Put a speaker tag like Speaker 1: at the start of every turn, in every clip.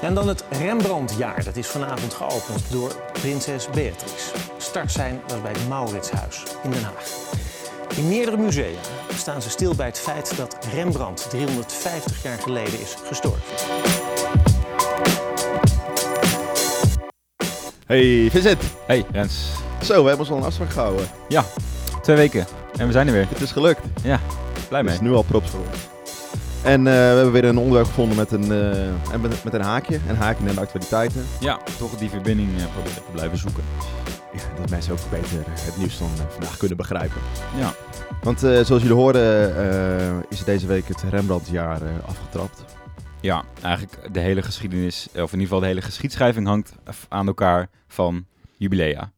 Speaker 1: En dan het Rembrandtjaar. Dat is vanavond geopend door prinses Beatrix. Start zijn was bij het Mauritshuis in Den Haag. In meerdere musea staan ze stil bij het feit dat Rembrandt 350 jaar geleden is gestorven.
Speaker 2: Hey Vincent,
Speaker 3: Hey Rens.
Speaker 2: zo, we hebben ons al een afspraak gehouden.
Speaker 3: Ja, twee weken. En we zijn er weer.
Speaker 2: Het is gelukt.
Speaker 3: Blij
Speaker 2: Het
Speaker 3: mee.
Speaker 2: is nu al props voor ons. En eh, we hebben weer een onderwerp gevonden met een, eh, en met, met een haakje. Een haakje naar de actualiteiten.
Speaker 3: Dus- Ja, toch die verbinding eh, proberen te blijven zoeken.
Speaker 2: Ja, dat mensen ook beter het nieuws van eh, vandaag kunnen begrijpen.
Speaker 3: Ja.
Speaker 2: Want eh, zoals jullie hoorden eh, is deze week het Rembrandtjaar eh, afgetrapt.
Speaker 3: Ja, eigenlijk de hele geschiedenis, eh, of in ieder geval de hele geschiedschrijving hangt af- aan elkaar van jubilea.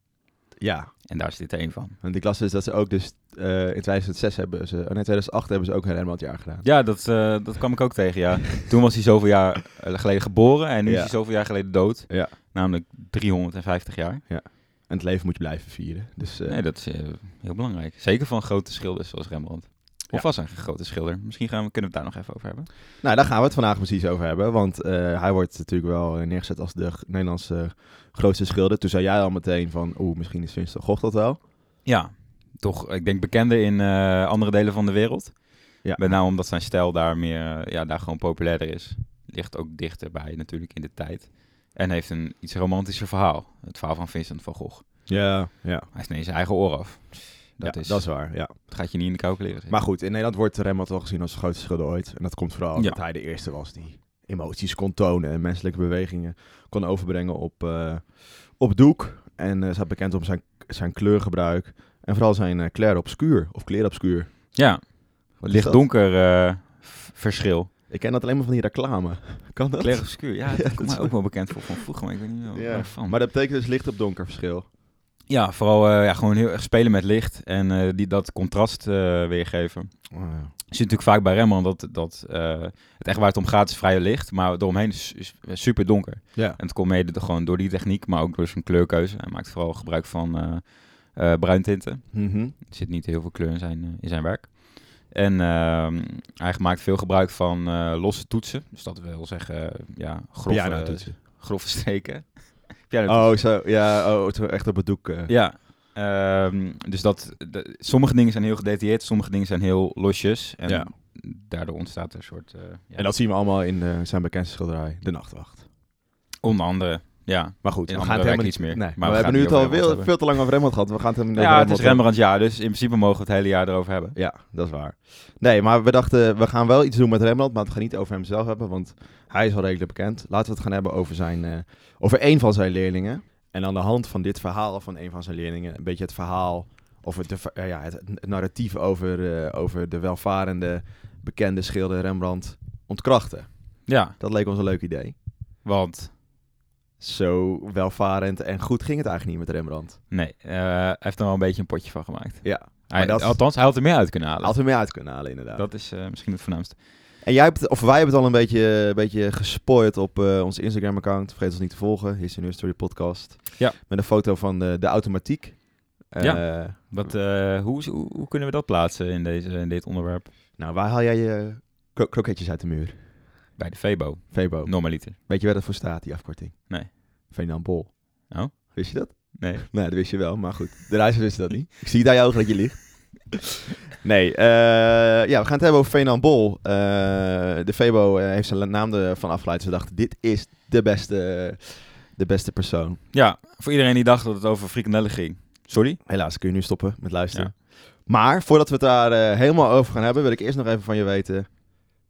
Speaker 2: Ja.
Speaker 3: En daar is dit een van.
Speaker 2: En ik las dus dat ze ook dus eh, in 2006 hebben ze, oh nee, 2008 hebben ze ook een Rembrandtjaar gedaan.
Speaker 3: Ja, dat, eh, dat kwam ik ook tegen, ja. Toen was hij zoveel jaar eh, geleden geboren en nu
Speaker 2: Ja.
Speaker 3: is hij zoveel jaar geleden dood.
Speaker 2: Ja.
Speaker 3: Namelijk 350 jaar.
Speaker 2: En het leven moet je blijven vieren. Dus eh,
Speaker 3: Nee, dat is eh, heel belangrijk. Zeker van grote schilders zoals Rembrandt. Of
Speaker 2: Ja.
Speaker 3: was hij een grote schilder? Misschien gaan we, kunnen we het daar nog even over hebben.
Speaker 2: Nou, daar gaan we het vandaag precies over hebben. Want eh, hij wordt natuurlijk wel eh, neergezet als de g- Nederlandse grootste schilder. Toen zei jij al meteen van, oeh, misschien is Vincent Gogh dat wel.
Speaker 3: Ja, toch, ik denk bekender in eh, andere delen van de wereld.
Speaker 2: Ja.
Speaker 3: Met name omdat zijn stijl daar, meer, eh, ja, daar gewoon populairder is. Ligt ook dichterbij natuurlijk in de tijd. En heeft een iets romantischer verhaal. Het verhaal van Vincent van Gogh.
Speaker 2: Ja, ja.
Speaker 3: Hij is zijn eigen oor af. Dat,
Speaker 2: Dat,
Speaker 3: is,
Speaker 2: dat is waar, ja.
Speaker 3: dat gaat je niet in de kou kleren zitten.
Speaker 2: Maar goed, in Nederland wordt Rembrandt al gezien als de grootste schilder ooit. En dat komt vooral
Speaker 3: Ja.
Speaker 2: omdat hij de eerste was die emoties kon tonen en menselijke bewegingen kon overbrengen op, eh, op doek. En eh staat bekend om zijn, zijn kleurgebruik en vooral zijn eh clair obscuur of kleerobscuur.
Speaker 3: Ja,
Speaker 2: Wat is dat?
Speaker 3: licht-donker eh, v- verschil.
Speaker 2: Ik ken dat alleen maar van die reclame. Kan dat?
Speaker 3: Clair obscuur, ja, dat
Speaker 2: Ja,
Speaker 3: komt
Speaker 2: dat
Speaker 3: mij
Speaker 2: is-
Speaker 3: ook wel bekend voor van vroeger, maar ik weet niet meer
Speaker 2: Ja.
Speaker 3: waarvan.
Speaker 2: Maar dat betekent dus licht op donker verschil.
Speaker 3: Ja, vooral eh, ja, gewoon heel erg spelen met licht en eh, die, dat contrast eh, weergeven. Je ziet natuurlijk vaak bij Rembrandt dat, dat eh, het echt waar het om gaat is vrij licht, maar eromheen is, is super donker.
Speaker 2: Ja.
Speaker 3: En het komt mede gewoon door die techniek, maar ook door zijn kleurkeuze. Hij maakt vooral gebruik van eh eh bruintinten.
Speaker 2: Mhm.
Speaker 3: Er zit niet heel veel kleur in zijn, eh, in zijn werk. En ehm, hij maakt veel gebruik van eh, losse toetsen. Dus dat wil zeggen, eh, ja, grove,
Speaker 2: Pianotoetsen.
Speaker 3: grove streken. Pianotoetsen.
Speaker 2: Oh, zo. Ja, oh, zo echt op het doek. eh.
Speaker 3: Ja. ehm, dus dat, de- sommige dingen zijn heel gedetailleerd, sommige dingen zijn heel losjes. En
Speaker 2: Ja.
Speaker 3: daardoor ontstaat er een soort... eh, ja,
Speaker 2: En dat zien we allemaal in eh, zijn bekendste schilderij, De Nachtwacht.
Speaker 3: Onder andere, ja.
Speaker 2: Maar goed,
Speaker 3: In
Speaker 2: we
Speaker 3: andere
Speaker 2: gaan het helemaal
Speaker 3: werken iets meer.
Speaker 2: Nee,
Speaker 3: Maar
Speaker 2: maar
Speaker 3: we
Speaker 2: we,
Speaker 3: gaan
Speaker 2: hebben nu
Speaker 3: het
Speaker 2: het al
Speaker 3: niet over
Speaker 2: veel,
Speaker 3: Rembrandt
Speaker 2: veel te lang over Rembrandt gehad. We gaan het helemaal niet
Speaker 3: Ja,
Speaker 2: over
Speaker 3: het is Rembrandt, ja, dus in principe mogen we het hele jaar erover hebben.
Speaker 2: hebben. Ja, dat is waar. Nee, maar we dachten, we gaan wel iets doen met Rembrandt, maar we gaan niet over hemzelf hebben, want hij is al redelijk bekend. Laten we het gaan hebben over, zijn, eh, over een van zijn leerlingen. En aan de hand van dit verhaal van een van zijn leerlingen, een beetje het verhaal, of het, de ver- eh, ja, het, het narratief over, eh, over de welvarende, bekende schilder Rembrandt ontkrachten.
Speaker 3: Ja,
Speaker 2: Dat leek ons een leuk idee.
Speaker 3: want
Speaker 2: zo welvarend en goed ging het eigenlijk niet met Rembrandt.
Speaker 3: nee, eh, hij heeft er wel een beetje een potje van gemaakt.
Speaker 2: Ja,
Speaker 3: Hij,
Speaker 2: dat-
Speaker 3: Althans, hij had er meer uit kunnen halen.
Speaker 2: had er mee uit kunnen halen inderdaad.
Speaker 3: Dat is eh, misschien het voornaamste.
Speaker 2: En jij hebt, of wij hebben het al een beetje, een beetje gespoild op eh, ons Instagram-account. Vergeet ons niet te volgen, History New Story Podcast.
Speaker 3: Ja.
Speaker 2: Met een foto van de, de automatiek. Eh,
Speaker 3: Wat, eh, hoe, is- hoe, hoe kunnen we dat plaatsen in, deze, in dit onderwerp?
Speaker 2: Nou, waar haal jij je kro- kroketjes uit de muur?
Speaker 3: Bij de Febo,
Speaker 2: Febo.
Speaker 3: normaliter.
Speaker 2: Weet je waar dat voor staat, die afkorting?
Speaker 3: Nee.
Speaker 2: Ferdinand Bol.
Speaker 3: Oh.
Speaker 2: Wist je dat?
Speaker 3: Nee.
Speaker 2: Nee, dat wist je wel, maar goed. De reiziger wist dat niet. Ik zie daar je ogen dat je ligt. Nee, eh, ja, we gaan het hebben over Fernand Bol. Eh, de Febo eh, heeft zijn naam ervan afgeleid. Ze dachten, dit is de beste, de beste persoon.
Speaker 3: Ja, voor iedereen die dacht dat het over frikandellen ging. Sorry?
Speaker 2: Helaas, kun je nu stoppen met luisteren. Maar voordat we het daar eh, helemaal over gaan hebben, wil ik eerst nog even van je weten...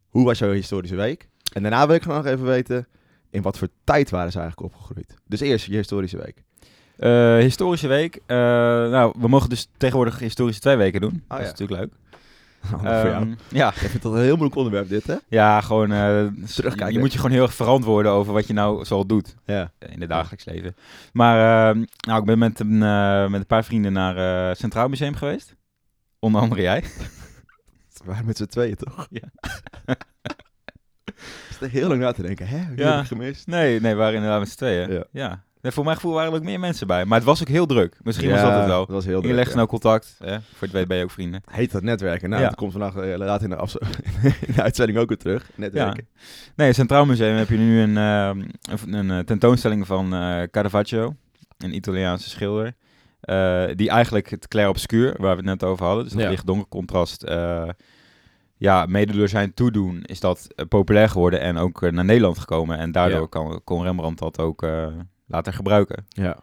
Speaker 2: Hoe was jouw historische week? En daarna wil ik nog even weten... In wat voor tijd waren ze eigenlijk opgegroeid? Dus eerst je historische week.
Speaker 3: Eh, historische week. Eh, nou, we mogen dus tegenwoordig historische twee weken doen. dat
Speaker 2: Oh ja.
Speaker 3: is natuurlijk leuk.
Speaker 2: Handig voor jou.
Speaker 3: Ehm, ja,
Speaker 2: Ik vind dat een heel moeilijk onderwerp dit, hè?
Speaker 3: ja, gewoon eh,
Speaker 2: Terugkijken.
Speaker 3: Je moet je gewoon heel erg verantwoorden over wat je nou zoal doet
Speaker 2: Ja.
Speaker 3: eh, in het dagelijks leven. Maar ehm, nou, ik ben met een, eh, met een paar vrienden naar eh Centraal Museum geweest. Onder andere jij.
Speaker 2: We waren met z'n tweeën, toch?
Speaker 3: Ja.
Speaker 2: Het is echt heel lang na te denken. Hè? Wie
Speaker 3: Ja.
Speaker 2: heb ik gemist?
Speaker 3: Nee, nee, we waren inderdaad met z'n tweeën.
Speaker 2: Ja.
Speaker 3: Ja. Nee, voor mijn gevoel waren er ook meer mensen bij. Maar het was ook heel druk. Misschien was dat het wel.
Speaker 2: was heel
Speaker 3: je
Speaker 2: druk,
Speaker 3: legt
Speaker 2: ja.
Speaker 3: snel contact. Hè? Voor het weet ben je ook vrienden.
Speaker 2: Heet dat netwerken? Nou,
Speaker 3: Ja.
Speaker 2: dat komt vandaag eh, laat in de, afzo- in de uitzending ook weer terug. Netwerken.
Speaker 3: Nee, het Centraal Museum heb je nu een, ehm, een, een, eh, tentoonstelling van eh, Caravaggio, een Italiaanse schilder. eh, die eigenlijk het clair obscuur, waar we het net over hadden, dus dat
Speaker 2: Ja.
Speaker 3: licht-donker contrast, eh, ja, mede door zijn toedoen is dat eh, populair geworden en ook eh, naar Nederland gekomen. En daardoor
Speaker 2: Ja.
Speaker 3: kan, kon Rembrandt dat ook eh, later gebruiken.
Speaker 2: Ja.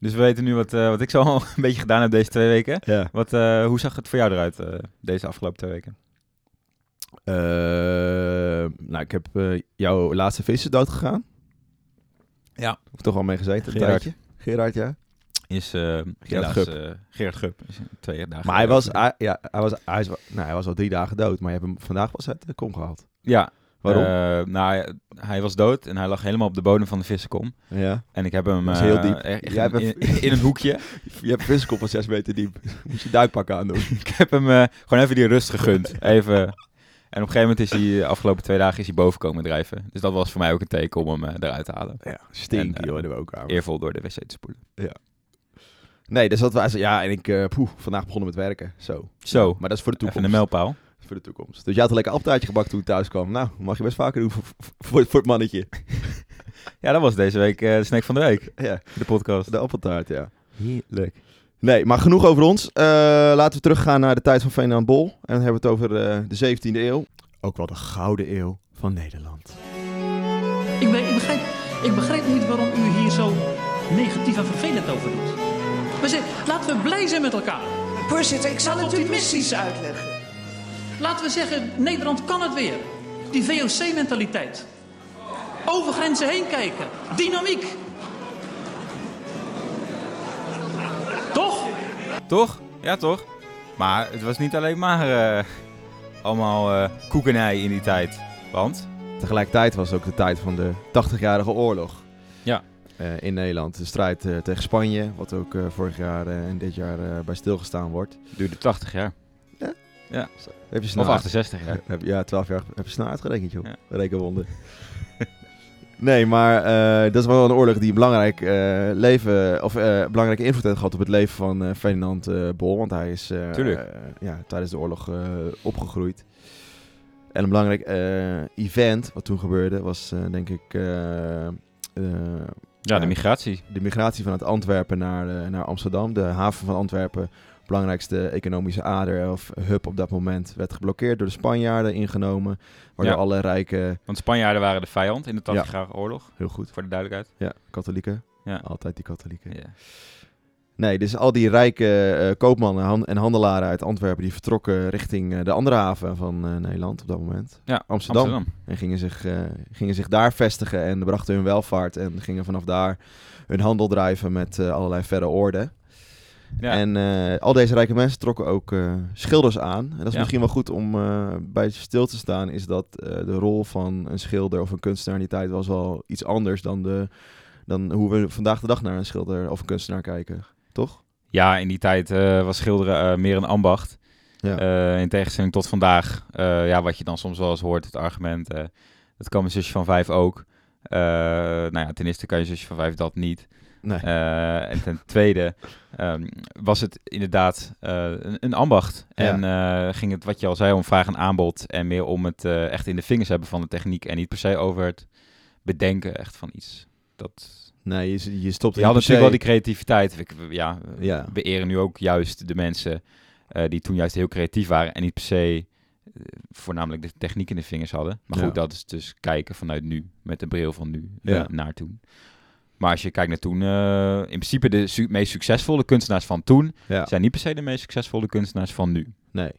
Speaker 3: Dus we weten nu wat, eh, wat ik zo al een beetje gedaan heb deze twee weken.
Speaker 2: ja.
Speaker 3: Wat, eh, hoe zag het voor jou eruit eh, deze afgelopen twee weken?
Speaker 2: Eh, nou, ik heb eh, jouw laatste vis is dood gegaan.
Speaker 3: Ja.
Speaker 2: Of toch al mee gezeten, een
Speaker 3: Gerard.
Speaker 2: tijdje. Gerard, ja.
Speaker 3: Is eh Gerard
Speaker 2: Gup.
Speaker 3: Gup. Gerard Gup. Is twee dagen
Speaker 2: Maar hij
Speaker 3: geleden.
Speaker 2: was, hij, ja, hij was, hij is, wel- nou, hij was al drie dagen dood, maar je hebt hem vandaag pas uit de kom gehaald.
Speaker 3: Ja.
Speaker 2: Waarom?
Speaker 3: eh, nou, hij- hij was dood en hij lag helemaal op de bodem van de vissenkom.
Speaker 2: ja.
Speaker 3: En ik heb hem
Speaker 2: Dat is
Speaker 3: eh,
Speaker 2: heel diep.
Speaker 3: echt
Speaker 2: Jij
Speaker 3: in,
Speaker 2: hebt-
Speaker 3: in- in een hoekje.
Speaker 2: Je hebt een viskop van zes meter diep. Moet je duikpak aan doen.
Speaker 3: ik heb hem eh, gewoon even die rust gegund. Even. En op een gegeven moment is hij, de afgelopen twee dagen, is hij boven komen drijven. Dus dat was voor mij ook een teken om hem eh, eruit te halen.
Speaker 2: Ja,
Speaker 3: En, eh,
Speaker 2: stinkt joh, in de woonkamer.
Speaker 3: Eervol door de wc te spoelen.
Speaker 2: Nee, dus dat was, ja, en ik, eh, poeh, vandaag begonnen met werken. Zo.
Speaker 3: Zo,
Speaker 2: Maar dat is voor de
Speaker 3: even
Speaker 2: toekomst.
Speaker 3: een mijlpaal.
Speaker 2: Voor de toekomst. Dus jij had een lekker appeltaartje gebakt toen je thuis kwam. Nou, mag je best vaker doen voor, voor, voor het mannetje.
Speaker 3: Ja, dat was deze week eh, de snack van de week.
Speaker 2: Ja,
Speaker 3: De podcast.
Speaker 2: de appeltaart, ja.
Speaker 3: Heerlijk.
Speaker 2: Nee, maar genoeg over ons. Eh, laten we teruggaan naar de tijd van Ferdinand Bol. En dan hebben we het over eh, de 17e eeuw. Ook wel de gouden eeuw van Nederland.
Speaker 4: Ik, be- ik, begrijp, ik begrijp niet waarom u hier zo negatief en vervelend over doet. We zijn, laten we blij zijn met elkaar.
Speaker 5: Voorzitter, ik zal het u
Speaker 4: Optimistisch.
Speaker 5: precies uitleggen.
Speaker 4: Laten we zeggen, Nederland kan het weer. Die VOC-mentaliteit. Over grenzen heen kijken. Dynamiek. Toch?
Speaker 3: Toch? Ja, toch? Maar het was niet alleen maar eh, allemaal eh, koekenij in die tijd. Want
Speaker 2: Tegelijkertijd was het ook de tijd van de 80-jarige oorlog.
Speaker 3: Ja.
Speaker 2: Eh, in Nederland. De strijd eh, tegen Spanje, wat ook eh, vorig jaar eh, en dit jaar eh, bij stilgestaan wordt.
Speaker 3: duurde 80 jaar.
Speaker 2: Heb je
Speaker 3: Of
Speaker 2: snel
Speaker 3: 68 jaar.
Speaker 2: Heb- Ja, 12 jaar heb je snel uitgerekend, joh.
Speaker 3: Ja.
Speaker 2: Rekenwonder. nee, maar eh, dat is wel een oorlog die een belangrijk, eh, leven, of, eh, belangrijke invloed heeft gehad op het leven van eh, Ferdinand eh, Bol. Want hij is eh,
Speaker 3: Tuurlijk.
Speaker 2: eh, ja, tijdens de oorlog eh, opgegroeid. En een belangrijk eh, event wat toen gebeurde was, eh, denk ik, eh, eh,
Speaker 3: Ja, de
Speaker 2: Ja.
Speaker 3: migratie.
Speaker 2: de migratie vanuit Antwerpen naar, eh, naar Amsterdam. De haven van Antwerpen, belangrijkste economische ader of hub op dat moment, werd geblokkeerd door de Spanjaarden ingenomen. Waardoor
Speaker 3: Ja.
Speaker 2: alle rijke,
Speaker 3: Want Spanjaarden waren de vijand in de 80-jarige oorlog,
Speaker 2: heel goed,
Speaker 3: voor de duidelijkheid.
Speaker 2: ja, katholieken.
Speaker 3: Ja.
Speaker 2: Altijd die katholieken.
Speaker 3: Ja.
Speaker 2: Nee, dus al die rijke eh, koopmannen han- en handelaren uit Antwerpen die vertrokken richting eh, de andere haven van eh, Nederland op dat moment.
Speaker 3: Ja,
Speaker 2: Amsterdam.
Speaker 3: Amsterdam.
Speaker 2: En gingen zich, eh, gingen zich daar vestigen en brachten hun welvaart en gingen vanaf daar hun handel drijven met eh, allerlei verre orde.
Speaker 3: Ja.
Speaker 2: En eh, al deze rijke mensen trokken ook eh, schilders aan. En dat is
Speaker 3: Ja.
Speaker 2: misschien wel goed om eh, bij stil te staan, is dat eh, de rol van een schilder of een kunstenaar in die tijd was wel iets anders dan, de, dan hoe we vandaag de dag naar een schilder of een kunstenaar kijken. Toch?
Speaker 3: Ja, in die tijd eh, was schilderen eh, meer een ambacht.
Speaker 2: Ja.
Speaker 3: Eh, in tegenstelling tot vandaag, eh, ja, wat je dan soms wel eens hoort, het argument, eh, dat kan mijn zusje van vijf ook. Eh, nou ja, ten eerste kan je zusje van vijf dat niet.
Speaker 2: Nee.
Speaker 3: Eh, en ten tweede ehm, was het inderdaad eh, een, een ambacht. En eh, ging het, wat je al zei, om vraag en aanbod. En meer om het eh, echt in de vingers hebben van de techniek. En niet per se over het bedenken echt van iets. Dat,
Speaker 2: nee, je, je stopt
Speaker 3: die hadden natuurlijk wel die creativiteit. Ik, ja,
Speaker 2: Ja.
Speaker 3: We eren nu ook juist de mensen eh, die toen juist heel creatief waren. En niet per se eh, voornamelijk de techniek in de vingers hadden. Maar goed,
Speaker 2: Ja.
Speaker 3: dat is dus kijken vanuit nu. Met de bril van nu
Speaker 2: Ja.
Speaker 3: eh, naar toen. Maar als je kijkt naar toen, eh, in principe de su- meest succesvolle kunstenaars van toen...
Speaker 2: Ja.
Speaker 3: zijn niet per se de meest succesvolle kunstenaars van nu.
Speaker 2: Nee.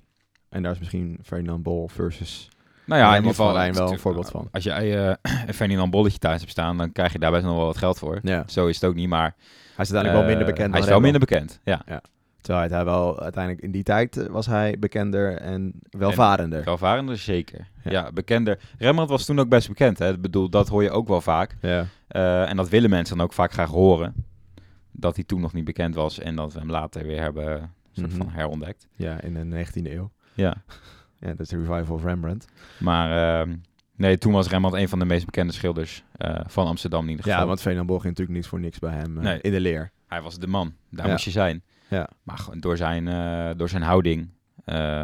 Speaker 2: En daar is misschien Ferdinand Bol versus...
Speaker 3: Nou ja,
Speaker 2: Ja,
Speaker 3: in ieder
Speaker 2: Rob van
Speaker 3: geval...
Speaker 2: Rijn wel een
Speaker 3: natuurlijk,
Speaker 2: voorbeeld
Speaker 3: nou,
Speaker 2: van.
Speaker 3: Als jij eh, een Ferdinand Bolletje thuis hebt staan, dan krijg je daar best nog wel wat geld voor.
Speaker 2: Ja.
Speaker 3: Zo is het ook niet, maar...
Speaker 2: Hij is uiteindelijk wel
Speaker 3: eh,
Speaker 2: minder bekend dan
Speaker 3: Hij is wel
Speaker 2: Rembrandt.
Speaker 3: minder bekend, ja.
Speaker 2: Terwijl hij wel uiteindelijk in die tijd eh, was hij bekender en welvarender.
Speaker 3: Welvarender, zeker.
Speaker 2: Ja.
Speaker 3: Ja. bekender. Rembrandt was toen ook best bekend. Hè? Ik bedoel, dat hoor je ook wel vaak.
Speaker 2: ja.
Speaker 3: Eh, en dat willen mensen dan ook vaak graag horen. Dat hij toen nog niet bekend was en dat we hem later weer hebben eh, soort
Speaker 2: Mhm.
Speaker 3: van herontdekt.
Speaker 2: ja, in de 19e eeuw.
Speaker 3: Ja,
Speaker 2: Ja, dat is de revival of Rembrandt.
Speaker 3: maar ehm, Nee, toen was Rembrandt een van de meest bekende schilders eh, van Amsterdam in ieder geval.
Speaker 2: Ja, want Veenenborg ging natuurlijk niet voor niks bij hem eh,
Speaker 3: Nee.
Speaker 2: in de leer.
Speaker 3: Hij was de man, daar
Speaker 2: Ja.
Speaker 3: moest je zijn.
Speaker 2: Ja.
Speaker 3: Maar gewoon door zijn, eh, door zijn houding eh,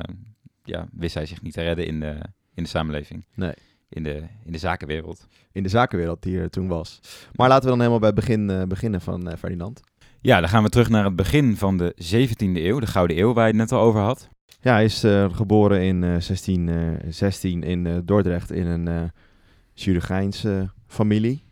Speaker 3: ja, wist hij zich niet te redden in de, in de samenleving.
Speaker 2: Nee.
Speaker 3: In de, in de zakenwereld.
Speaker 2: In de zakenwereld die er toen was. Maar laten we dan helemaal bij het begin eh, beginnen van eh, Ferdinand.
Speaker 3: Ja, dan gaan we terug naar het begin van de 17e eeuw, de Gouden Eeuw, waar je het net al over had.
Speaker 2: Ja, hij is eh, geboren in eh 1616 in eh, Dordrecht in een eh Chirurgijnse familie.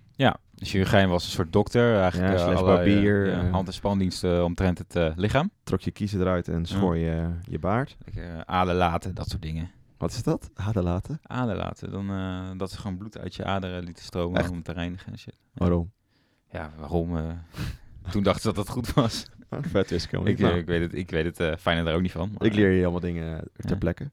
Speaker 3: De chirurgijn Dus was een soort dokter, eigenlijk
Speaker 2: Ja,
Speaker 3: eh,
Speaker 2: slash
Speaker 3: allerlei, eh,
Speaker 2: barbier,
Speaker 3: ja,
Speaker 2: eh.
Speaker 3: hand- en spandiensten omtrent het eh, lichaam.
Speaker 2: Trok je kiezen eruit en schoor je eh, je baard.
Speaker 3: Lekker Aden laten, dat soort dingen.
Speaker 2: Wat is dat? Aderlaten?
Speaker 3: Aden laten, dan, eh, dat ze gewoon bloed uit je aderen lieten stromen
Speaker 2: Echt?
Speaker 3: om te reinigen en shit.
Speaker 2: Waarom?
Speaker 3: Ja, waarom? eh, toen dachten ze dat dat goed was.
Speaker 2: vet is ik,
Speaker 3: Ik, eh, ik weet het, ik weet het eh fijn er ook niet van. maar-
Speaker 2: ik leer je allemaal dingen ter
Speaker 3: Ja.
Speaker 2: plekke.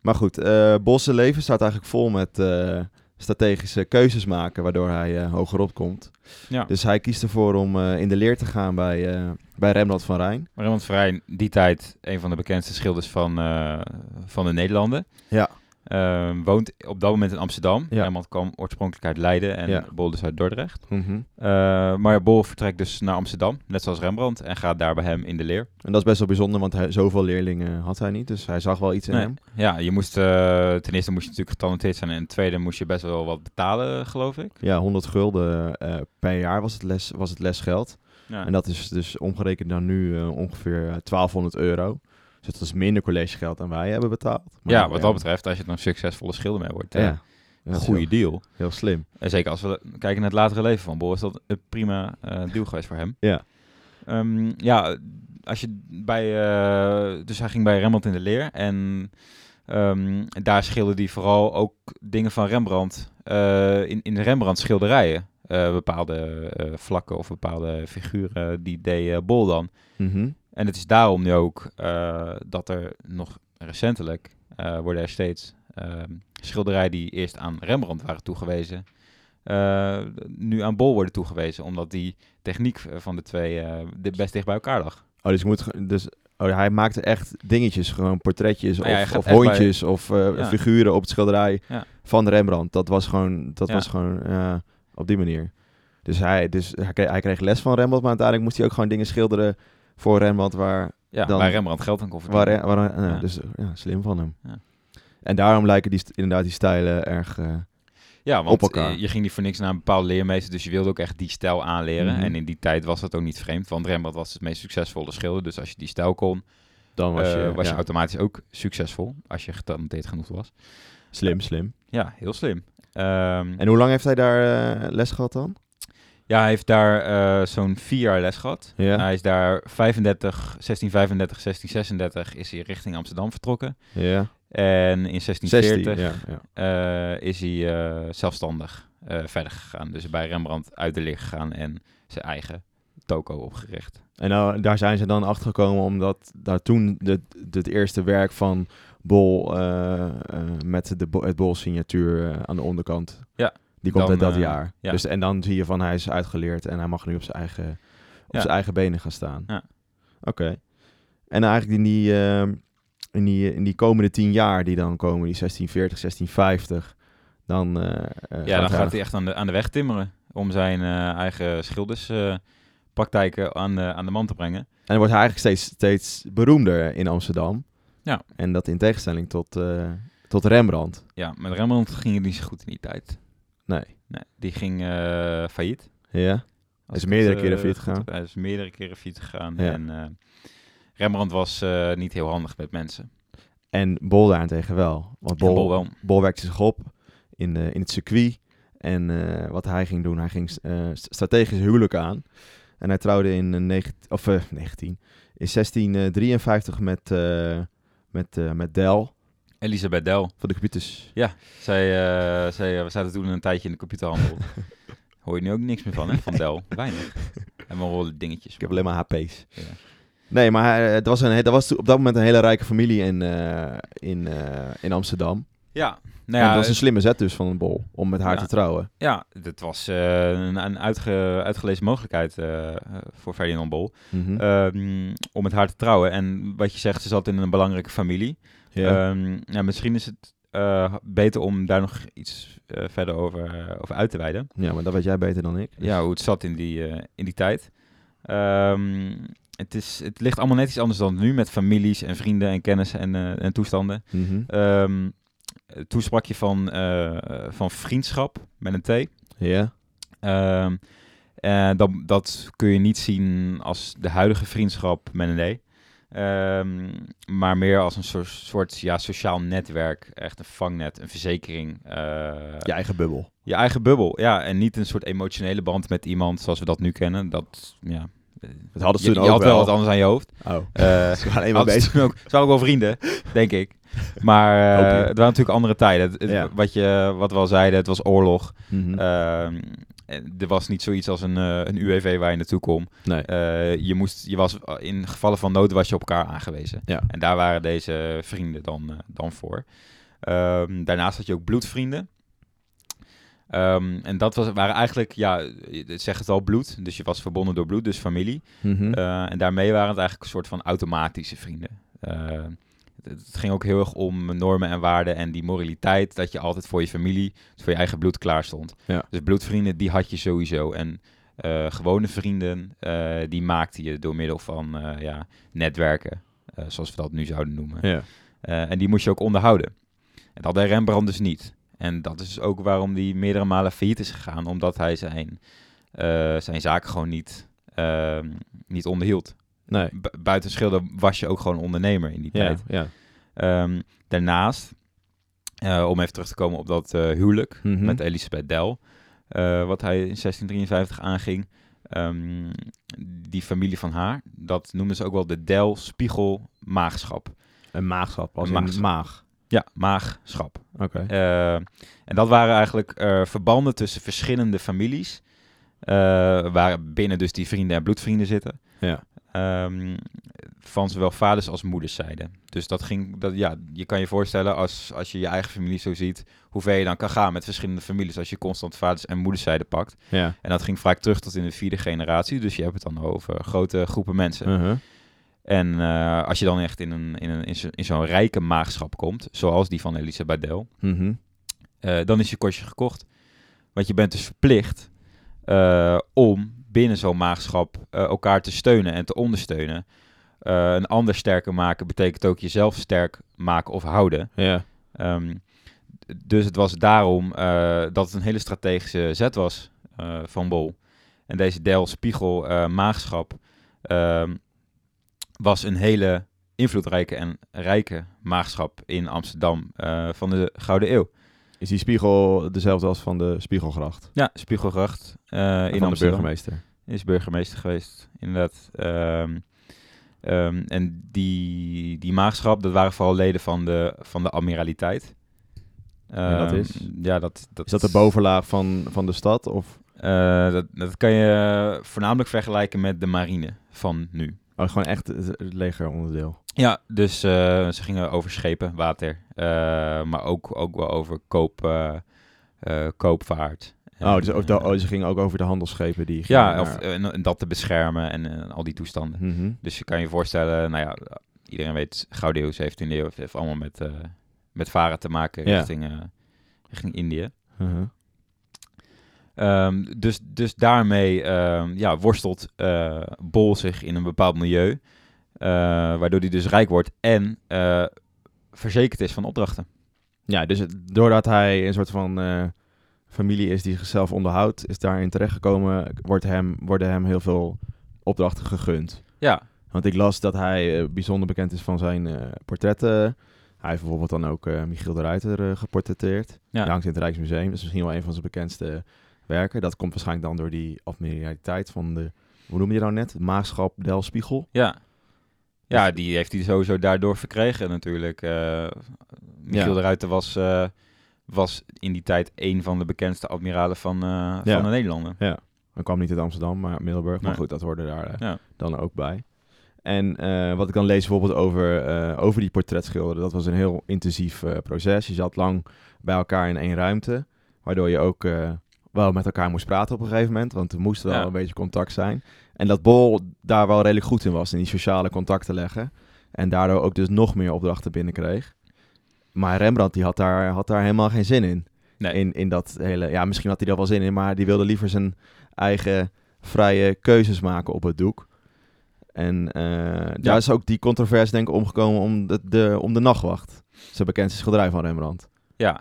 Speaker 2: Maar goed, eh Bosse leven staat eigenlijk vol met eh, strategische keuzes maken, waardoor hij eh, hogerop komt.
Speaker 3: Ja.
Speaker 2: Dus hij kiest ervoor om eh, in de leer te gaan bij, eh, bij Rembrandt van Rijn.
Speaker 3: Maar Raymond Verijn, die tijd een van de bekendste schilders van, eh, van de Nederlanden.
Speaker 2: Ja.
Speaker 3: Ehm, woont op dat moment in Amsterdam.
Speaker 2: Ja.
Speaker 3: Raymond kwam oorspronkelijk uit Leiden en
Speaker 2: Ja.
Speaker 3: Bol dus uit Dordrecht. Eh, maar Bol vertrekt dus naar Amsterdam, net zoals Rembrandt, en gaat daar bij hem in de leer.
Speaker 2: En dat is best wel bijzonder, want hij, zoveel leerlingen had hij niet. Dus hij zag wel iets in
Speaker 3: Nee.
Speaker 2: hem.
Speaker 3: Ja, je moest, eh, ten eerste moest je natuurlijk getalenteerd zijn en ten tweede moest je best wel wat betalen, geloof ik.
Speaker 2: Ja, 100 gulden eh, per jaar was het, les, was het lesgeld.
Speaker 3: Ja.
Speaker 2: En dat is dus omgerekend naar nu eh, ongeveer eh, 1200 euro. Dus dat is minder collegegeld dan wij hebben betaald. Maar
Speaker 3: ja, wat dat betreft, als je er een succesvolle schilder mee wordt,
Speaker 2: Ja,
Speaker 3: eh,
Speaker 2: dat
Speaker 3: een
Speaker 2: is
Speaker 3: goede
Speaker 2: heel-
Speaker 3: deal.
Speaker 2: heel slim.
Speaker 3: En zeker als we kijken naar het latere leven van Bol, is dat een prima eh deal geweest voor hem.
Speaker 2: Ja.
Speaker 3: Ehm, ja, als je bij, eh, dus hij ging bij Rembrandt in de leer en ehm, daar schilderde hij vooral ook dingen van Rembrandt eh, in, in Rembrandt schilderijen. Eh, bepaalde eh, vlakken of bepaalde figuren, die deed eh, Bol dan.
Speaker 2: Mhm.
Speaker 3: En het is daarom nu ook eh, dat er nog recentelijk eh, worden er steeds ehm, schilderijen die eerst aan Rembrandt waren toegewezen, eh, nu aan Bol worden toegewezen, omdat die techniek eh, van de twee eh, di- best dicht bij elkaar lag.
Speaker 2: Oh, dus, je moet, ge- dus oh, hij maakte echt dingetjes, gewoon portretjes
Speaker 3: Nou ja, hij
Speaker 2: of,
Speaker 3: gaat
Speaker 2: of
Speaker 3: echt bij-
Speaker 2: hondjes of eh,
Speaker 3: Ja.
Speaker 2: figuren op het schilderij
Speaker 3: Ja.
Speaker 2: van Rembrandt. Dat was gewoon, dat
Speaker 3: Ja.
Speaker 2: was gewoon eh, op die manier. Dus, hij, dus hij, kreeg, hij kreeg les van Rembrandt, maar uiteindelijk moest hij ook gewoon dingen schilderen voor Rembrandt waar...
Speaker 3: Ja,
Speaker 2: Dan-
Speaker 3: waar Rembrandt geld aan kon verdienen.
Speaker 2: waar, eh, waar eh,
Speaker 3: Ja.
Speaker 2: Dus eh, ja, slim van hem.
Speaker 3: Ja.
Speaker 2: En daarom lijken die, st- inderdaad die stijlen erg... eh,
Speaker 3: ja, want
Speaker 2: op elkaar.
Speaker 3: eh, je ging niet voor niks naar een bepaalde leermeester, dus je wilde ook echt die stijl aanleren.
Speaker 2: Mhm.
Speaker 3: En in die tijd was dat ook niet vreemd, want Rembrandt was het meest succesvolle schilder, dus als je die stijl kon,
Speaker 2: dan was
Speaker 3: was,
Speaker 2: je,
Speaker 3: je, Eh, was
Speaker 2: ja,
Speaker 3: je automatisch ook succesvol, als je getalenteerd genoeg was.
Speaker 2: slim, slim.
Speaker 3: Ja, heel slim. Ehm,
Speaker 2: En hoe lang heeft hij daar eh, les gehad dan?
Speaker 3: Ja, hij heeft daar eh, zo'n vier jaar les gehad.
Speaker 2: Ja.
Speaker 3: Hij is daar 35, 1635, 1636 is hij richting Amsterdam vertrokken.
Speaker 2: Ja.
Speaker 3: En in
Speaker 2: 16,
Speaker 3: 1640
Speaker 2: ja, ja.
Speaker 3: eh, is hij eh, zelfstandig eh, verder gegaan. Dus bij Rembrandt uit de leer gegaan en zijn eigen toko opgericht.
Speaker 2: En nou, daar zijn ze dan achter gekomen omdat daar toen de- de- het eerste werk van Bol eh, eh, met de, Bo- het Bol-signatuur eh, aan de onderkant.
Speaker 3: Ja.
Speaker 2: Die komt
Speaker 3: Dan,
Speaker 2: uit dat
Speaker 3: eh,
Speaker 2: jaar.
Speaker 3: ja.
Speaker 2: Dus, en dan zie je van hij is uitgeleerd en hij mag nu op zijn eigen, op
Speaker 3: Ja.
Speaker 2: zijn eigen benen gaan staan.
Speaker 3: Ja.
Speaker 2: Oké. En eigenlijk in die, eh, in, die, in die komende tien jaar die dan komen, die 1640, 1650, dan, eh, eh, gaat
Speaker 3: ja, dan
Speaker 2: hij
Speaker 3: gaat hij echt aan de, aan de weg timmeren om zijn eh, eigen schilderspraktijken praktijken aan, de- aan de man te brengen.
Speaker 2: En dan wordt hij eigenlijk steeds, steeds beroemder in Amsterdam.
Speaker 3: Ja.
Speaker 2: En dat in tegenstelling tot, eh, tot Rembrandt.
Speaker 3: Ja, met Rembrandt ging het niet zo goed in die tijd.
Speaker 2: Nee.
Speaker 3: Nee, die ging eh, failliet.
Speaker 2: Ja?
Speaker 3: Als
Speaker 2: is
Speaker 3: ik
Speaker 2: meerdere
Speaker 3: eh,
Speaker 2: keren fiets
Speaker 3: goed
Speaker 2: gegaan.
Speaker 3: heb. Hij is meerdere keren fiets gegaan.
Speaker 2: Ja.
Speaker 3: En eh, Rembrandt was eh, niet heel handig met mensen.
Speaker 2: En Bol daarentegen wel. Want
Speaker 3: En
Speaker 2: Bol,
Speaker 3: Bol
Speaker 2: Bol,
Speaker 3: wel.
Speaker 2: werkte zich op in, eh, in het circuit. En eh, wat hij ging doen, hij ging eh, st- strategisch huwelijk aan. En hij trouwde in, eh, 19 of, eh, 19, in 1653 met, eh, met, eh, met Del
Speaker 3: Elisabeth Del.
Speaker 2: van de computers.
Speaker 3: Zij, eh, zij, we zaten toen een tijdje in de computerhandel. Hoor je nu ook niks meer van, hè? Van Del. Weinig. En we horen dingetjes.
Speaker 2: Ik heb alleen maar HP's.
Speaker 3: Ja.
Speaker 2: Nee, maar hij- het was, een, he- dat was toen op dat moment een hele rijke familie in, eh, in, eh, in Amsterdam.
Speaker 3: Ja,
Speaker 2: en
Speaker 3: nou ja,
Speaker 2: het was een slimme zet dus van een bol om met haar
Speaker 3: Ja.
Speaker 2: te trouwen.
Speaker 3: ja, dat was eh, een, een uitge, uitgelezen mogelijkheid eh, eh, voor Ferdinand Bol.
Speaker 2: Mhm.
Speaker 3: Ehm, om met haar te trouwen. En wat je zegt, ze zat in een belangrijke familie.
Speaker 2: ja.
Speaker 3: Ehm, ja, misschien is het eh, beter om daar nog iets eh, verder over, eh, over uit te wijden.
Speaker 2: Ja, maar dat weet jij beter dan ik. Dus-
Speaker 3: Ja, hoe het zat in die, eh, in die tijd. Ehm, het, is, het ligt allemaal net iets anders dan nu met families en vrienden en kennis en, eh, en toestanden.
Speaker 2: Mhm.
Speaker 3: Ehm, toen sprak je van, eh, van vriendschap met een T.
Speaker 2: Ja.
Speaker 3: Ehm, eh, dat, dat kun je niet zien als de huidige vriendschap met een D. Ehm, maar meer als een soort, soort ja, sociaal netwerk. Echt een vangnet, een verzekering. eh,
Speaker 2: Je eigen bubbel.
Speaker 3: Je eigen bubbel, ja. En niet een soort emotionele band met iemand zoals we dat nu kennen. Dat, ja.
Speaker 2: Dat hadden ze
Speaker 3: je,
Speaker 2: toen
Speaker 3: je
Speaker 2: ook
Speaker 3: had wel
Speaker 2: wel.
Speaker 3: wat anders aan je hoofd.
Speaker 2: Oh.
Speaker 3: Eh,
Speaker 2: Ze waren eenmaal
Speaker 3: Hadden
Speaker 2: bezig.
Speaker 3: ze toen ook, ze waren ook wel vrienden, denk ik. Maar eh,
Speaker 2: Hoop je.
Speaker 3: het waren natuurlijk andere tijden. Het- het-
Speaker 2: Ja.
Speaker 3: wat, je, wat we al zeiden, het was oorlog.
Speaker 2: Mhm.
Speaker 3: Ehm, er was niet zoiets als een, eh, een UWV waar je naartoe kon.
Speaker 2: nee.
Speaker 3: Eh, je moest, je was, in gevallen van nood was je op elkaar aangewezen.
Speaker 2: Ja.
Speaker 3: En daar waren deze vrienden dan, eh, dan voor. Ehm, daarnaast had je ook bloedvrienden. Ehm, en dat was, waren eigenlijk, ja, het zegt het al, bloed. Dus je was verbonden door bloed, dus familie.
Speaker 2: Mhm.
Speaker 3: Eh, en daarmee waren het eigenlijk een soort van automatische vrienden. Eh, het, het ging ook heel erg om normen en waarden en die moraliteit dat je altijd voor je familie, dus voor je eigen bloed klaar stond.
Speaker 2: Ja.
Speaker 3: Dus bloedvrienden, die had je sowieso. En eh, gewone vrienden, eh, die maakte je door middel van eh, ja, netwerken, eh, zoals we dat nu zouden noemen.
Speaker 2: ja.
Speaker 3: Eh, en die moest je ook onderhouden. En dat had Rembrandt dus niet. En dat is dus ook waarom hij meerdere malen failliet is gegaan, omdat hij zijn, eh, zijn zaak gewoon niet, eh, niet onderhield.
Speaker 2: Nee.
Speaker 3: Bu- buiten schilder was je ook gewoon ondernemer in die
Speaker 2: Ja.
Speaker 3: tijd.
Speaker 2: ja.
Speaker 3: Ehm, daarnaast, eh, om even terug te komen op dat eh, huwelijk
Speaker 2: Mhm.
Speaker 3: met Elisabeth Del, eh, wat hij in 1653 aanging. Ehm, die familie van haar, dat noemden ze ook wel de Del-spiegel-maagschap.
Speaker 2: Een maagschap. Als
Speaker 3: Een
Speaker 2: een
Speaker 3: maagschap.
Speaker 2: maag.
Speaker 3: Ja, maagschap.
Speaker 2: Oké.
Speaker 3: Eh, en dat waren eigenlijk eh, verbanden tussen verschillende families. eh, waar binnen dus die vrienden en bloedvrienden zitten.
Speaker 2: Ja.
Speaker 3: Ehm, van zowel vaders als moederszijde. Dus dat ging, dat, ja, je kan je voorstellen als, als je je eigen familie zo ziet, hoe ver je dan kan gaan met verschillende families als je constant vaders en moederszijde pakt.
Speaker 2: Ja.
Speaker 3: En dat ging vaak terug tot in de vierde generatie, dus je hebt het dan over grote groepen mensen.
Speaker 2: Mhm.
Speaker 3: En eh, als je dan echt in, een, in, een, in, zo- in zo'n rijke maagschap komt, zoals die van Elisabeth Del,
Speaker 2: Mhm.
Speaker 3: eh, dan is je kostje gekocht. Want je bent dus verplicht eh, om binnen zo'n maagschap eh, elkaar te steunen en te ondersteunen. Eh, een ander sterker maken betekent ook jezelf sterk maken of houden.
Speaker 2: Ja.
Speaker 3: Ehm, d- dus het was daarom eh, dat het een hele strategische zet was eh, van Bol. En deze Del Spiegel eh, maagschap ehm, was een hele invloedrijke en rijke maagschap in Amsterdam eh, van de Gouden Eeuw.
Speaker 2: Is die spiegel dezelfde als van de Spiegelgracht?
Speaker 3: Ja, Spiegelgracht eh, in
Speaker 2: van
Speaker 3: Amsterdam.
Speaker 2: de burgemeester.
Speaker 3: Is burgemeester geweest, inderdaad. Ehm, ehm, en die, die maagschap, dat waren vooral leden van de, van de admiraliteit.
Speaker 2: En dat
Speaker 3: Ehm,
Speaker 2: is?
Speaker 3: Ja, dat, dat,
Speaker 2: Is dat de bovenlaag van, van de stad? Of
Speaker 3: Eh, dat, dat kan je voornamelijk vergelijken met de marine van nu.
Speaker 2: oh, gewoon echt het het legeronderdeel?
Speaker 3: Ja, dus eh, ze gingen over schepen, water, eh, maar ook, ook wel over koop, eh, eh, koopvaart.
Speaker 2: Oh, dus ook de,
Speaker 3: En, eh,
Speaker 2: oh, ze gingen ook over de handelsschepen die gingen
Speaker 3: Ja, of,
Speaker 2: naar-
Speaker 3: eh, en, en dat te beschermen en eh, al die toestanden.
Speaker 2: Mhm.
Speaker 3: Dus je kan je voorstellen, nou ja, iedereen weet, Gouden Eeuw, 17e eeuw, het heeft allemaal met, eh, met varen te maken
Speaker 2: Ja.
Speaker 3: richting, eh, richting Indië.
Speaker 2: Mhm.
Speaker 3: Ehm, dus, dus daarmee ehm, ja, worstelt eh, Bol zich in een bepaald milieu, eh, waardoor hij dus rijk wordt en eh, verzekerd is van opdrachten.
Speaker 2: Ja, dus het- doordat hij een soort van eh, familie is die zichzelf onderhoudt, is daarin terechtgekomen, wordt hem, worden hem heel veel opdrachten gegund.
Speaker 3: Ja,
Speaker 2: Want ik las dat hij eh, bijzonder bekend is van zijn eh, portretten. Hij heeft bijvoorbeeld dan ook eh, Michiel de Ruiter eh, geportretteerd.
Speaker 3: Ja.
Speaker 2: Die hangt in het Rijksmuseum. Dat is misschien wel een van zijn bekendste werken. Dat komt waarschijnlijk dan door die admiraliteit van de... Hoe noem je dat nou net? Maagschap Del Spiegel.
Speaker 3: ja. Ja, die heeft hij sowieso daardoor verkregen natuurlijk. Eh Michiel
Speaker 2: Ja.
Speaker 3: de Ruiter was, eh, was in die tijd een van de bekendste admiralen van, eh,
Speaker 2: Ja.
Speaker 3: van de Nederlanden.
Speaker 2: Hij kwam niet uit Amsterdam, maar uit Middelburg. Maar
Speaker 3: Nee.
Speaker 2: goed, dat hoorde daar eh,
Speaker 3: Ja.
Speaker 2: dan ook bij. En eh, wat ik dan lees bijvoorbeeld over, eh, over die portretschilderen, dat was een heel intensief eh, proces. Je zat lang bij elkaar in één ruimte, waardoor je ook eh, wel met elkaar moest praten op een gegeven moment, want er moest wel
Speaker 3: Ja.
Speaker 2: een beetje contact zijn. En dat Bol daar wel redelijk goed in was, in die sociale contacten leggen. En daardoor ook dus nog meer opdrachten binnenkreeg. Maar Rembrandt die had, daar, had daar helemaal geen zin in.
Speaker 3: Nee.
Speaker 2: in. In dat hele... Ja, misschien had hij daar wel zin in, maar die wilde liever zijn eigen vrije keuzes maken op het doek. En eh, daar is ook die controverse denk ik omgekomen om de, de, om de nachtwacht. Zijn bekendste schilderij van Rembrandt.
Speaker 3: Ja,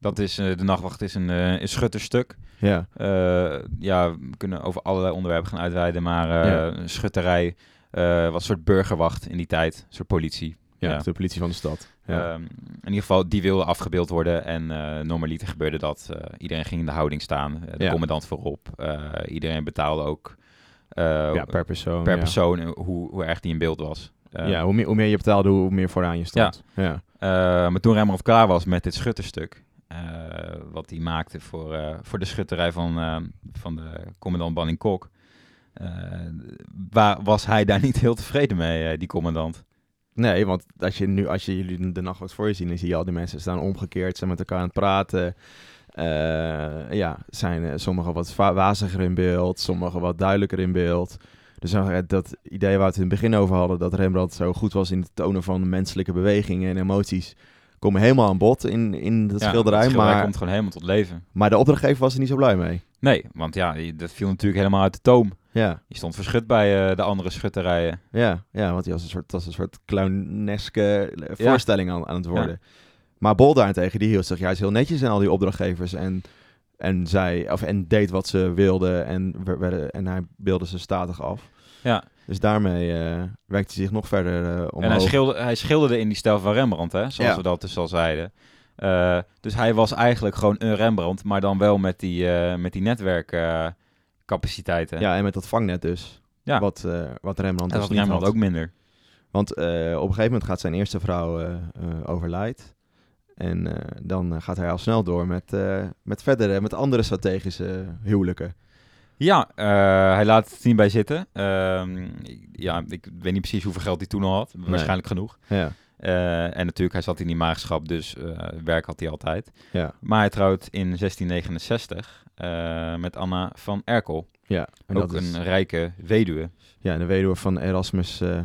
Speaker 3: dat is, eh, de nachtwacht is een, eh, een schutterstuk.
Speaker 2: Ja,
Speaker 3: Eh, ja, we kunnen over allerlei onderwerpen gaan uitweiden, maar eh,
Speaker 2: Ja.
Speaker 3: een schutterij eh, was een soort burgerwacht in die tijd, een soort politie.
Speaker 2: ja,
Speaker 3: Ja.
Speaker 2: de politie van de stad. Ja.
Speaker 3: Ehm, in ieder geval, die wilde afgebeeld worden en eh normaliter gebeurde dat. Eh, iedereen ging in de houding staan, eh, de
Speaker 2: Ja.
Speaker 3: commandant voorop. Eh, iedereen betaalde ook eh,
Speaker 2: ja,
Speaker 3: per,
Speaker 2: per persoon. ja.
Speaker 3: persoon eh, hoe, hoe erg die in beeld was. Eh,
Speaker 2: ja, hoe meer, hoe meer je betaalde, hoe meer vooraan je stond. Ja.
Speaker 3: Eh, maar toen Rembrandt klaar was met dit schutterstuk, eh, wat hij maakte voor, eh, voor de schutterij van, eh, van de commandant Banning Kok, eh, wa- was hij daar niet heel tevreden mee, eh, die commandant.
Speaker 2: Nee, want als je nu, als je jullie de nachtwacht voor je ziet, dan zie je al die mensen staan omgekeerd, zijn met elkaar aan het praten. Eh, ja, zijn eh, sommigen wat va- waziger in beeld, sommigen wat duidelijker in beeld. Dus dan, eh, dat idee waar we het in het begin over hadden, dat Rembrandt zo goed was in het tonen van menselijke bewegingen en emoties, komen helemaal aan bod in, in dat
Speaker 3: Ja,
Speaker 2: schilderij.
Speaker 3: het schilderij
Speaker 2: maar,
Speaker 3: komt gewoon helemaal tot leven.
Speaker 2: maar de opdrachtgever was er niet zo blij mee.
Speaker 3: Nee, want ja, je- dat viel natuurlijk helemaal uit de toom.
Speaker 2: Ja,
Speaker 3: Je stond verschut bij eh, de andere schutterijen.
Speaker 2: ja, ja want die was een soort, dat was een soort clowneske eh,
Speaker 3: Ja.
Speaker 2: voorstelling aan, aan het worden. Maar Bol daarentegen, die hield zich juist heel netjes in al die opdrachtgevers. En, en, zei, of, en deed wat ze wilden en, we- werden, en hij beelde ze statig af.
Speaker 3: Ja,
Speaker 2: Dus daarmee eh werkte hij zich nog verder eh omhoog.
Speaker 3: en hij, schilder, hij schilderde in die stijl van Rembrandt, hè, zoals
Speaker 2: Ja.
Speaker 3: we dat dus al zeiden. Eh, dus hij was eigenlijk gewoon een Rembrandt, maar dan wel met die, eh, met die netwerkcapaciteiten.
Speaker 2: Ja, en met dat vangnet dus.
Speaker 3: Ja.
Speaker 2: Wat, eh, wat Rembrandt
Speaker 3: Dat
Speaker 2: dus
Speaker 3: was
Speaker 2: niet
Speaker 3: Rembrandt
Speaker 2: had.
Speaker 3: ook minder.
Speaker 2: Want eh, op een gegeven moment gaat zijn eerste vrouw eh, eh, overlijdt. En eh, dan eh, gaat hij al snel door met, eh, met verdere, met andere strategische eh, huwelijken.
Speaker 3: Ja, eh, hij laat het niet bij zitten. Ehm, ik- ja, ik weet niet precies hoeveel geld hij toen al had. Waarschijnlijk genoeg.
Speaker 2: Ja,
Speaker 3: Eh, en natuurlijk, hij zat in die maagschap, dus eh, werk had hij altijd.
Speaker 2: ja,
Speaker 3: Maar hij trouwt in 1669 eh, met Anna van Erkel.
Speaker 2: ja. En
Speaker 3: ook
Speaker 2: dat is-
Speaker 3: een eh, rijke weduwe.
Speaker 2: Ja, de weduwe van Erasmus eh,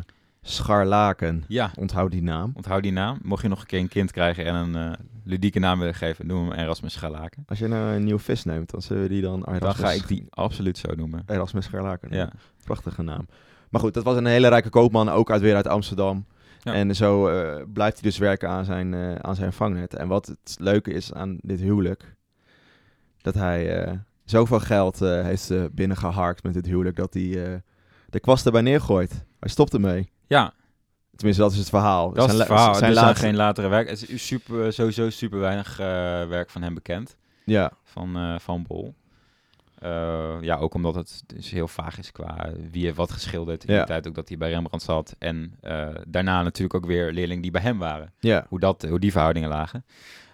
Speaker 2: Scharlaken.
Speaker 3: Ja,
Speaker 2: Onthoud die naam.
Speaker 3: onthoud die naam. Mocht je nog een keer een kind krijgen en een eh, ludieke naam willen geven, noem hem Erasmus Schalaken.
Speaker 2: Als je nou een nieuw vis neemt, dan zullen we die dan Erasmus,
Speaker 3: Dan ga ik die absoluut zo noemen.
Speaker 2: Erasmus Scharlaken
Speaker 3: Ja.
Speaker 2: noemen. Prachtige naam. Maar goed, dat was een hele rijke koopman, ook uit, weer uit Amsterdam.
Speaker 3: Ja.
Speaker 2: En zo eh, blijft hij dus werken aan zijn, eh, aan zijn vangnet. En wat het leuke is aan dit huwelijk, dat hij eh, zoveel geld eh, heeft eh, binnengeharkt met dit huwelijk, dat hij eh, de kwast erbij neergooit. Hij stopt ermee.
Speaker 3: Ja,
Speaker 2: Tenminste, dat is het verhaal.
Speaker 3: Dat is
Speaker 2: la-
Speaker 3: het verhaal.
Speaker 2: Zijn
Speaker 3: Zijn er
Speaker 2: laatste...
Speaker 3: zijn geen latere werk. Het is super, sowieso super weinig eh, werk van hem bekend.
Speaker 2: Ja,
Speaker 3: Van, eh, van Bol. Eh, ja, ook omdat het dus heel vaag is qua wie heeft wat geschilderd. In
Speaker 2: Ja.
Speaker 3: de tijd ook dat hij bij Rembrandt zat. En eh, daarna natuurlijk ook weer leerlingen die bij hem waren.
Speaker 2: ja,
Speaker 3: Hoe, dat, hoe die verhoudingen lagen.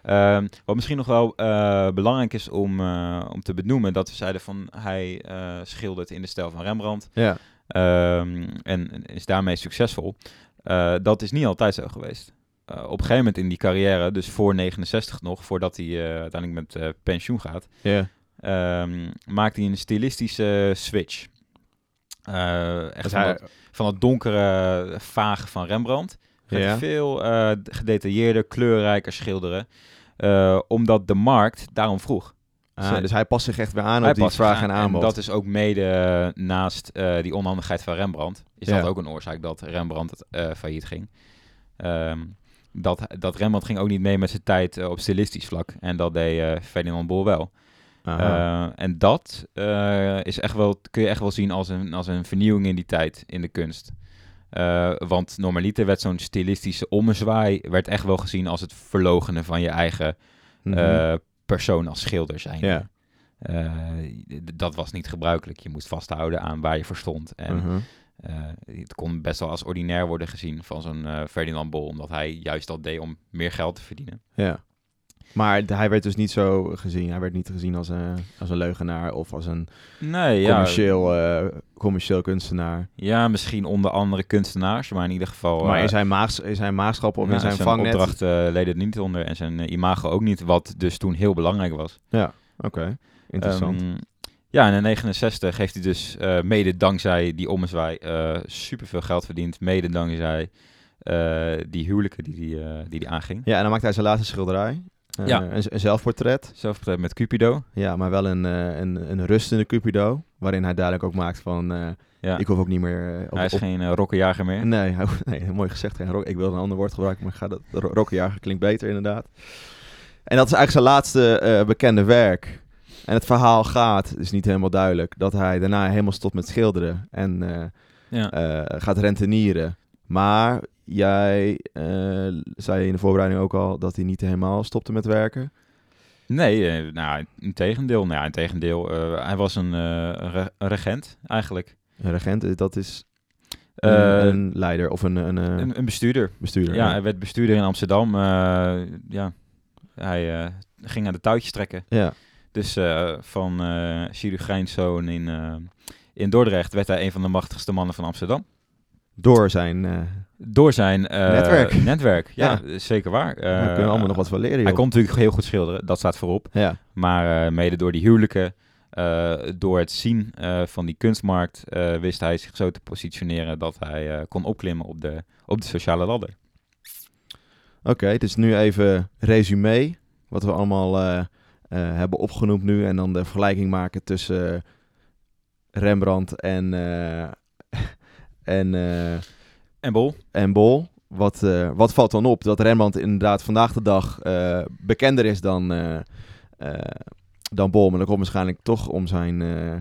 Speaker 3: Ehm, wat misschien nog wel eh, belangrijk is om, eh, om te benoemen. Dat we zeiden van hij eh, schildert in de stijl van Rembrandt.
Speaker 2: ja.
Speaker 3: Ehm, en is daarmee succesvol. Eh, dat is niet altijd zo geweest. Eh, op een gegeven moment in die carrière, dus voor 69 nog, voordat hij eh, uiteindelijk met eh, pensioen gaat,
Speaker 2: Ja,
Speaker 3: ehm, maakt hij een stilistische switch. Eh,
Speaker 2: dat
Speaker 3: echt van,
Speaker 2: Dus hij-
Speaker 3: dat, van dat donkere, vaag van Rembrandt. Gaat hij
Speaker 2: Ja.
Speaker 3: veel eh, gedetailleerder, kleurrijker schilderen. eh, omdat de markt daarom vroeg.
Speaker 2: Ah, dus hij past zich echt weer aan
Speaker 3: Hij
Speaker 2: op die
Speaker 3: past
Speaker 2: vraag
Speaker 3: zich
Speaker 2: en
Speaker 3: aan.
Speaker 2: aanbod.
Speaker 3: dat is ook mede eh, naast eh, die onhandigheid van Rembrandt. Is
Speaker 2: Ja.
Speaker 3: dat ook een oorzaak dat Rembrandt eh, failliet ging? Ehm, dat, dat Rembrandt ging ook niet mee met zijn tijd eh, op stilistisch vlak. En dat deed eh, Ferdinand Bol wel.
Speaker 2: Aha.
Speaker 3: Eh, en dat eh, is echt wel, kun je echt wel zien als een, als een vernieuwing in die tijd in de kunst. Eh, want normaliter werd zo'n stilistische ommezwaai werd echt wel gezien als het verlogenen van je eigen
Speaker 2: Mhm.
Speaker 3: eh, persoon als schilder zijn.
Speaker 2: ja.
Speaker 3: Eh, d- dat was niet gebruikelijk. Je moest vasthouden aan waar je voor stond. En
Speaker 2: Mhm.
Speaker 3: eh, het kon best wel als ordinair worden gezien van zo'n eh, Ferdinand Bol, omdat hij juist dat deed om meer geld te verdienen.
Speaker 2: ja. Maar d- hij werd dus niet zo gezien. Hij werd niet gezien als een, als een leugenaar of als een
Speaker 3: Nee,
Speaker 2: commercieel, eh, commercieel kunstenaar.
Speaker 3: Ja, misschien onder andere kunstenaars, maar in ieder geval.
Speaker 2: maar
Speaker 3: eh,
Speaker 2: in zijn, maags, in zijn maagschap of
Speaker 3: nou,
Speaker 2: in zijn, vangnet.
Speaker 3: opdracht eh, leed het niet onder en zijn eh, imago ook niet, wat dus toen heel belangrijk was.
Speaker 2: Oké, interessant.
Speaker 3: Ehm, ja, en in 69 heeft hij dus eh, mede dankzij die ommezwaai eh superveel geld verdiend. Mede dankzij eh, die huwelijken die, die, eh, die die aanging.
Speaker 2: Ja, en dan maakt hij zijn laatste schilderij. Eh,
Speaker 3: Ja.
Speaker 2: een, een zelfportret.
Speaker 3: Zelfportret met Cupido.
Speaker 2: Ja, maar wel een, eh, een, een rustende Cupido. Waarin hij duidelijk ook maakt van... eh,
Speaker 3: Ja.
Speaker 2: Ik hoef ook niet meer... eh, op,
Speaker 3: Hij is
Speaker 2: op-
Speaker 3: geen eh, rokkenjager meer.
Speaker 2: Nee, hij- oh, nee, mooi gezegd. Geen rock, ik wilde een ander woord gebruiken, maar ik ga dat, ro- rokkenjager klinkt beter inderdaad. En dat is eigenlijk zijn laatste eh, bekende werk. En het verhaal gaat, het is niet helemaal duidelijk, dat hij daarna helemaal stopt met schilderen en eh,
Speaker 3: Ja.
Speaker 2: eh, gaat rentenieren. Maar jij eh, zei in de voorbereiding ook al dat hij niet helemaal stopte met werken.
Speaker 3: Nee, eh, nou, in tegendeel. Nou, ja, in tegendeel. eh, hij was een, eh, re- een regent, eigenlijk.
Speaker 2: Een regent, eh, dat is een,
Speaker 3: Eh,
Speaker 2: een leider of een, een, eh,
Speaker 3: een, een bestuurder.
Speaker 2: bestuurder.
Speaker 3: Ja,
Speaker 2: hè?
Speaker 3: hij werd bestuurder in Amsterdam. eh, ja, hij eh, ging aan de touwtjes trekken.
Speaker 2: ja.
Speaker 3: Dus eh, van eh chirurgijnszoon in, eh, in Dordrecht werd hij een van de machtigste mannen van Amsterdam.
Speaker 2: Door zijn... eh
Speaker 3: Door zijn eh,
Speaker 2: Netwerk.
Speaker 3: netwerk, ja, zeker waar. Eh,
Speaker 2: we kunnen allemaal nog wat van leren,
Speaker 3: Hij
Speaker 2: joh.
Speaker 3: kon natuurlijk heel goed schilderen, dat staat voorop.
Speaker 2: Ja,
Speaker 3: Maar eh, mede door die huwelijken, eh, door het zien eh, van die kunstmarkt, eh, wist hij zich zo te positioneren dat hij eh, kon opklimmen op de, op de sociale ladder.
Speaker 2: Oké, dus nu even resume. Wat we allemaal eh, eh, hebben opgenoemd nu. En dan de vergelijking maken tussen Rembrandt en, eh, en, eh,
Speaker 3: En Bol?
Speaker 2: en Bol. Wat, eh, wat valt dan op? Dat Rembrandt inderdaad vandaag de dag eh, bekender is dan, eh, eh, dan Bol. Maar dat komt waarschijnlijk toch om zijn, eh,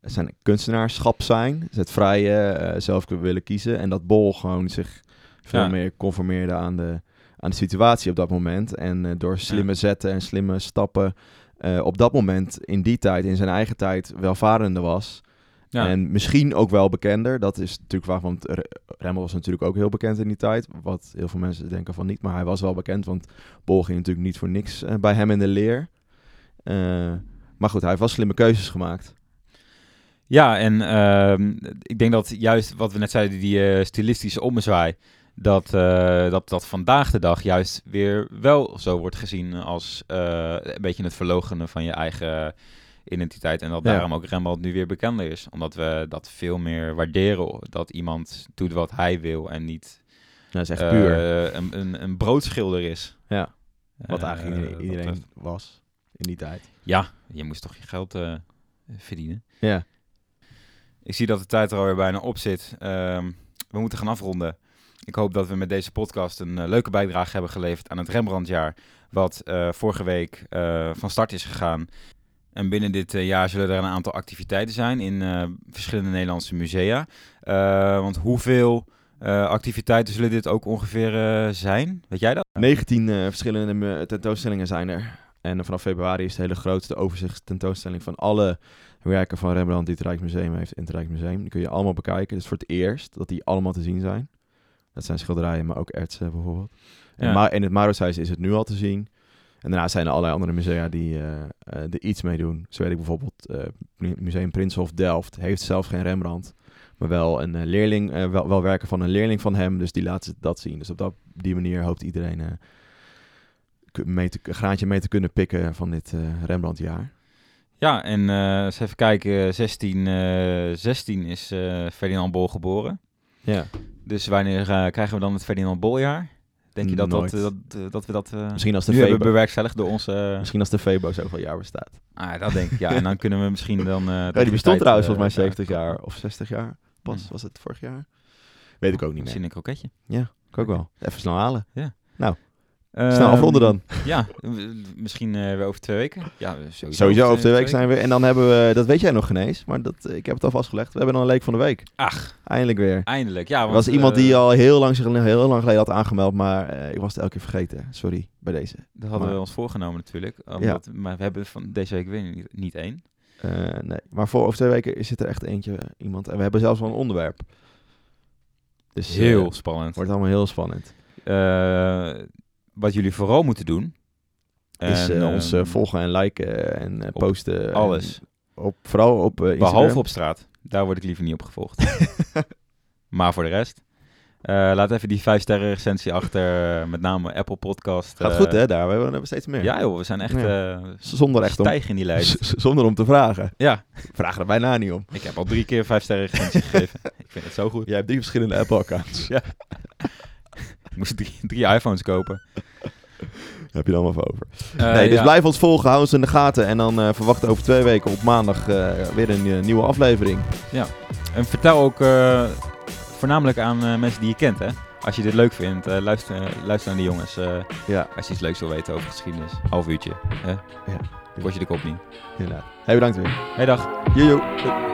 Speaker 2: zijn kunstenaarschap zijn. Dus het vrije, eh, zelf willen kiezen. En dat Bol gewoon zich veel
Speaker 3: Ja.
Speaker 2: meer conformeerde aan de, aan de situatie op dat moment. En eh, door slimme zetten en slimme stappen eh, op dat moment, in die tijd, in zijn eigen tijd, welvarender was.
Speaker 3: Ja.
Speaker 2: En misschien ook wel bekender. Dat is natuurlijk waar, want Re- Remmel was natuurlijk ook heel bekend in die tijd. Wat heel veel mensen denken van niet, maar hij was wel bekend. Want Bol ging natuurlijk niet voor niks eh, bij hem in de leer. Eh, maar goed, hij heeft wel slimme keuzes gemaakt.
Speaker 3: Ja, en ehm, ik denk dat juist wat we net zeiden, die eh, stilistische ommezwaai, dat, eh, dat dat vandaag de dag juist weer wel zo wordt gezien als eh, een beetje het verlogenen van je eigen identiteit. En dat
Speaker 2: Ja.
Speaker 3: daarom ook Rembrandt nu weer bekender is. Omdat we dat veel meer waarderen, dat iemand doet wat hij wil en niet
Speaker 2: dat is echt
Speaker 3: eh,
Speaker 2: puur.
Speaker 3: een, een, een broodschilder is.
Speaker 2: Ja. Wat
Speaker 3: Eh,
Speaker 2: eigenlijk iedereen,
Speaker 3: dat
Speaker 2: iedereen
Speaker 3: betreft.
Speaker 2: was in die tijd.
Speaker 3: Ja, je moest toch je geld eh, verdienen.
Speaker 2: Ja,
Speaker 3: Ik zie dat de tijd er alweer bijna op zit. Ehm, we moeten gaan afronden. Ik hoop dat we met deze podcast een eh, leuke bijdrage hebben geleverd aan het Rembrandtjaar. Wat eh, vorige week eh, van start is gegaan. En binnen dit eh, jaar zullen er een aantal activiteiten zijn in eh, verschillende Nederlandse musea. Eh, want hoeveel eh, activiteiten zullen dit ook ongeveer eh, zijn? Weet jij dat?
Speaker 2: 19 eh, verschillende mu- tentoonstellingen zijn er. En vanaf februari is de hele grootste overzichtstentoonstelling van alle werken van Rembrandt die het Rijksmuseum heeft in het Rijksmuseum. Die kun je allemaal bekijken. Dus voor het eerst dat die allemaal te zien zijn. Dat zijn schilderijen, maar ook ertsen bijvoorbeeld. En
Speaker 3: Ja.
Speaker 2: ma- in het Mauritshuis is het nu al te zien. En daarna zijn er allerlei andere musea die eh, eh, er iets mee doen. Zo weet ik bijvoorbeeld, eh, Mu- Museum Prinshof Delft heeft zelf geen Rembrandt. Maar wel een eh, leerling, eh, wel, wel werken van een leerling van hem. Dus die laat ze dat zien. Dus op dat, die manier hoopt iedereen eh, ku- mee te, een graantje mee te kunnen pikken van dit eh Rembrandt-jaar.
Speaker 3: Ja, en eh, eens even kijken. 16, eh, 16 is eh, Ferdinand Bol geboren.
Speaker 2: Ja.
Speaker 3: Dus wanneer eh, krijgen we dan het Ferdinand Boljaar? Denk je dat, dat,
Speaker 2: Nooit.
Speaker 3: dat, eh, dat we dat eh,
Speaker 2: Misschien als de
Speaker 3: nu hebben
Speaker 2: Febo,
Speaker 3: bewerkstelligd door onze... eh,
Speaker 2: misschien als de Febo zoveel jaar bestaat.
Speaker 3: ah, dat denk ik, ja. En dan kunnen we misschien dan... eh,
Speaker 2: Ja, die bestond
Speaker 3: tijd,
Speaker 2: trouwens
Speaker 3: eh,
Speaker 2: volgens mij
Speaker 3: ja,
Speaker 2: 70 jaar of 60 jaar. Pas
Speaker 3: Hmm.
Speaker 2: was het vorig jaar. Weet ik ook niet meer.
Speaker 3: Misschien een kroketje.
Speaker 2: Ik ook wel. Even snel halen.
Speaker 3: Ehm,
Speaker 2: Snel afronden dan.
Speaker 3: Ja, w- misschien eh, weer over twee weken. Ja, sowieso,
Speaker 2: Sowieso over twee weken
Speaker 3: weken.
Speaker 2: zijn we. En dan hebben we, dat weet jij nog geen eens, maar dat, eh, ik heb het al vastgelegd. We hebben dan een leek van de week.
Speaker 3: Ach,
Speaker 2: Eindelijk weer.
Speaker 3: eindelijk. Ja,
Speaker 2: Er
Speaker 3: want,
Speaker 2: was iemand
Speaker 3: eh,
Speaker 2: die al heel lang, zich, heel lang geleden had aangemeld, maar eh, ik was het elke keer vergeten. Sorry, bij deze.
Speaker 3: Dat hadden
Speaker 2: maar-
Speaker 3: we ons voorgenomen natuurlijk. Omdat, Maar we hebben van deze week weer niet, niet één.
Speaker 2: Eh, nee, maar voor over twee weken zit er echt eentje, eh, iemand. En we hebben zelfs wel een onderwerp. Dus eh,
Speaker 3: Heel spannend.
Speaker 2: wordt allemaal heel spannend.
Speaker 3: Eh, wat jullie vooral moeten doen...
Speaker 2: is eh,
Speaker 3: en,
Speaker 2: ons
Speaker 3: ehm,
Speaker 2: eh, volgen en liken en eh,
Speaker 3: op
Speaker 2: posten. en
Speaker 3: Alles.
Speaker 2: Op, vooral op eh, Instagram.
Speaker 3: Behalve op straat. Daar word ik liever niet op gevolgd. maar voor de rest. eh, laat even die 5 sterren recensie achter. eh, Met name Apple Podcast.
Speaker 2: Gaat
Speaker 3: eh,
Speaker 2: goed hè, daar. We hebben, we hebben steeds meer.
Speaker 3: Ja joh, we zijn echt eh
Speaker 2: Z- Zonder echt om,
Speaker 3: stijgen in die lijst.
Speaker 2: z- zonder om te vragen.
Speaker 3: Ja,
Speaker 2: Vraag er bijna niet om.
Speaker 3: ik heb al drie keer 5 sterren recensie gegeven. Ik vind het zo goed.
Speaker 2: Jij hebt drie verschillende Apple-accounts.
Speaker 3: Ja. Moest drie, drie iPhones kopen.
Speaker 2: Heb je dan maar voor over.
Speaker 3: Eh,
Speaker 2: nee, dus
Speaker 3: ja.
Speaker 2: blijf ons volgen, hou ons in de gaten. En dan eh verwacht over twee weken op maandag eh, weer een eh, nieuwe aflevering.
Speaker 3: En vertel ook eh, voornamelijk aan eh, mensen die je kent, hè. Als je dit leuk vindt, eh, luister, eh, luister aan die jongens. eh,
Speaker 2: Ja.
Speaker 3: als je iets leuks wil weten over geschiedenis. Half uurtje. Hè?
Speaker 2: Ja.
Speaker 3: Kost je de kop niet.
Speaker 2: Inderdaad. Hey, bedankt weer.
Speaker 3: Hey, dag.
Speaker 2: Joejoe.
Speaker 3: Doei.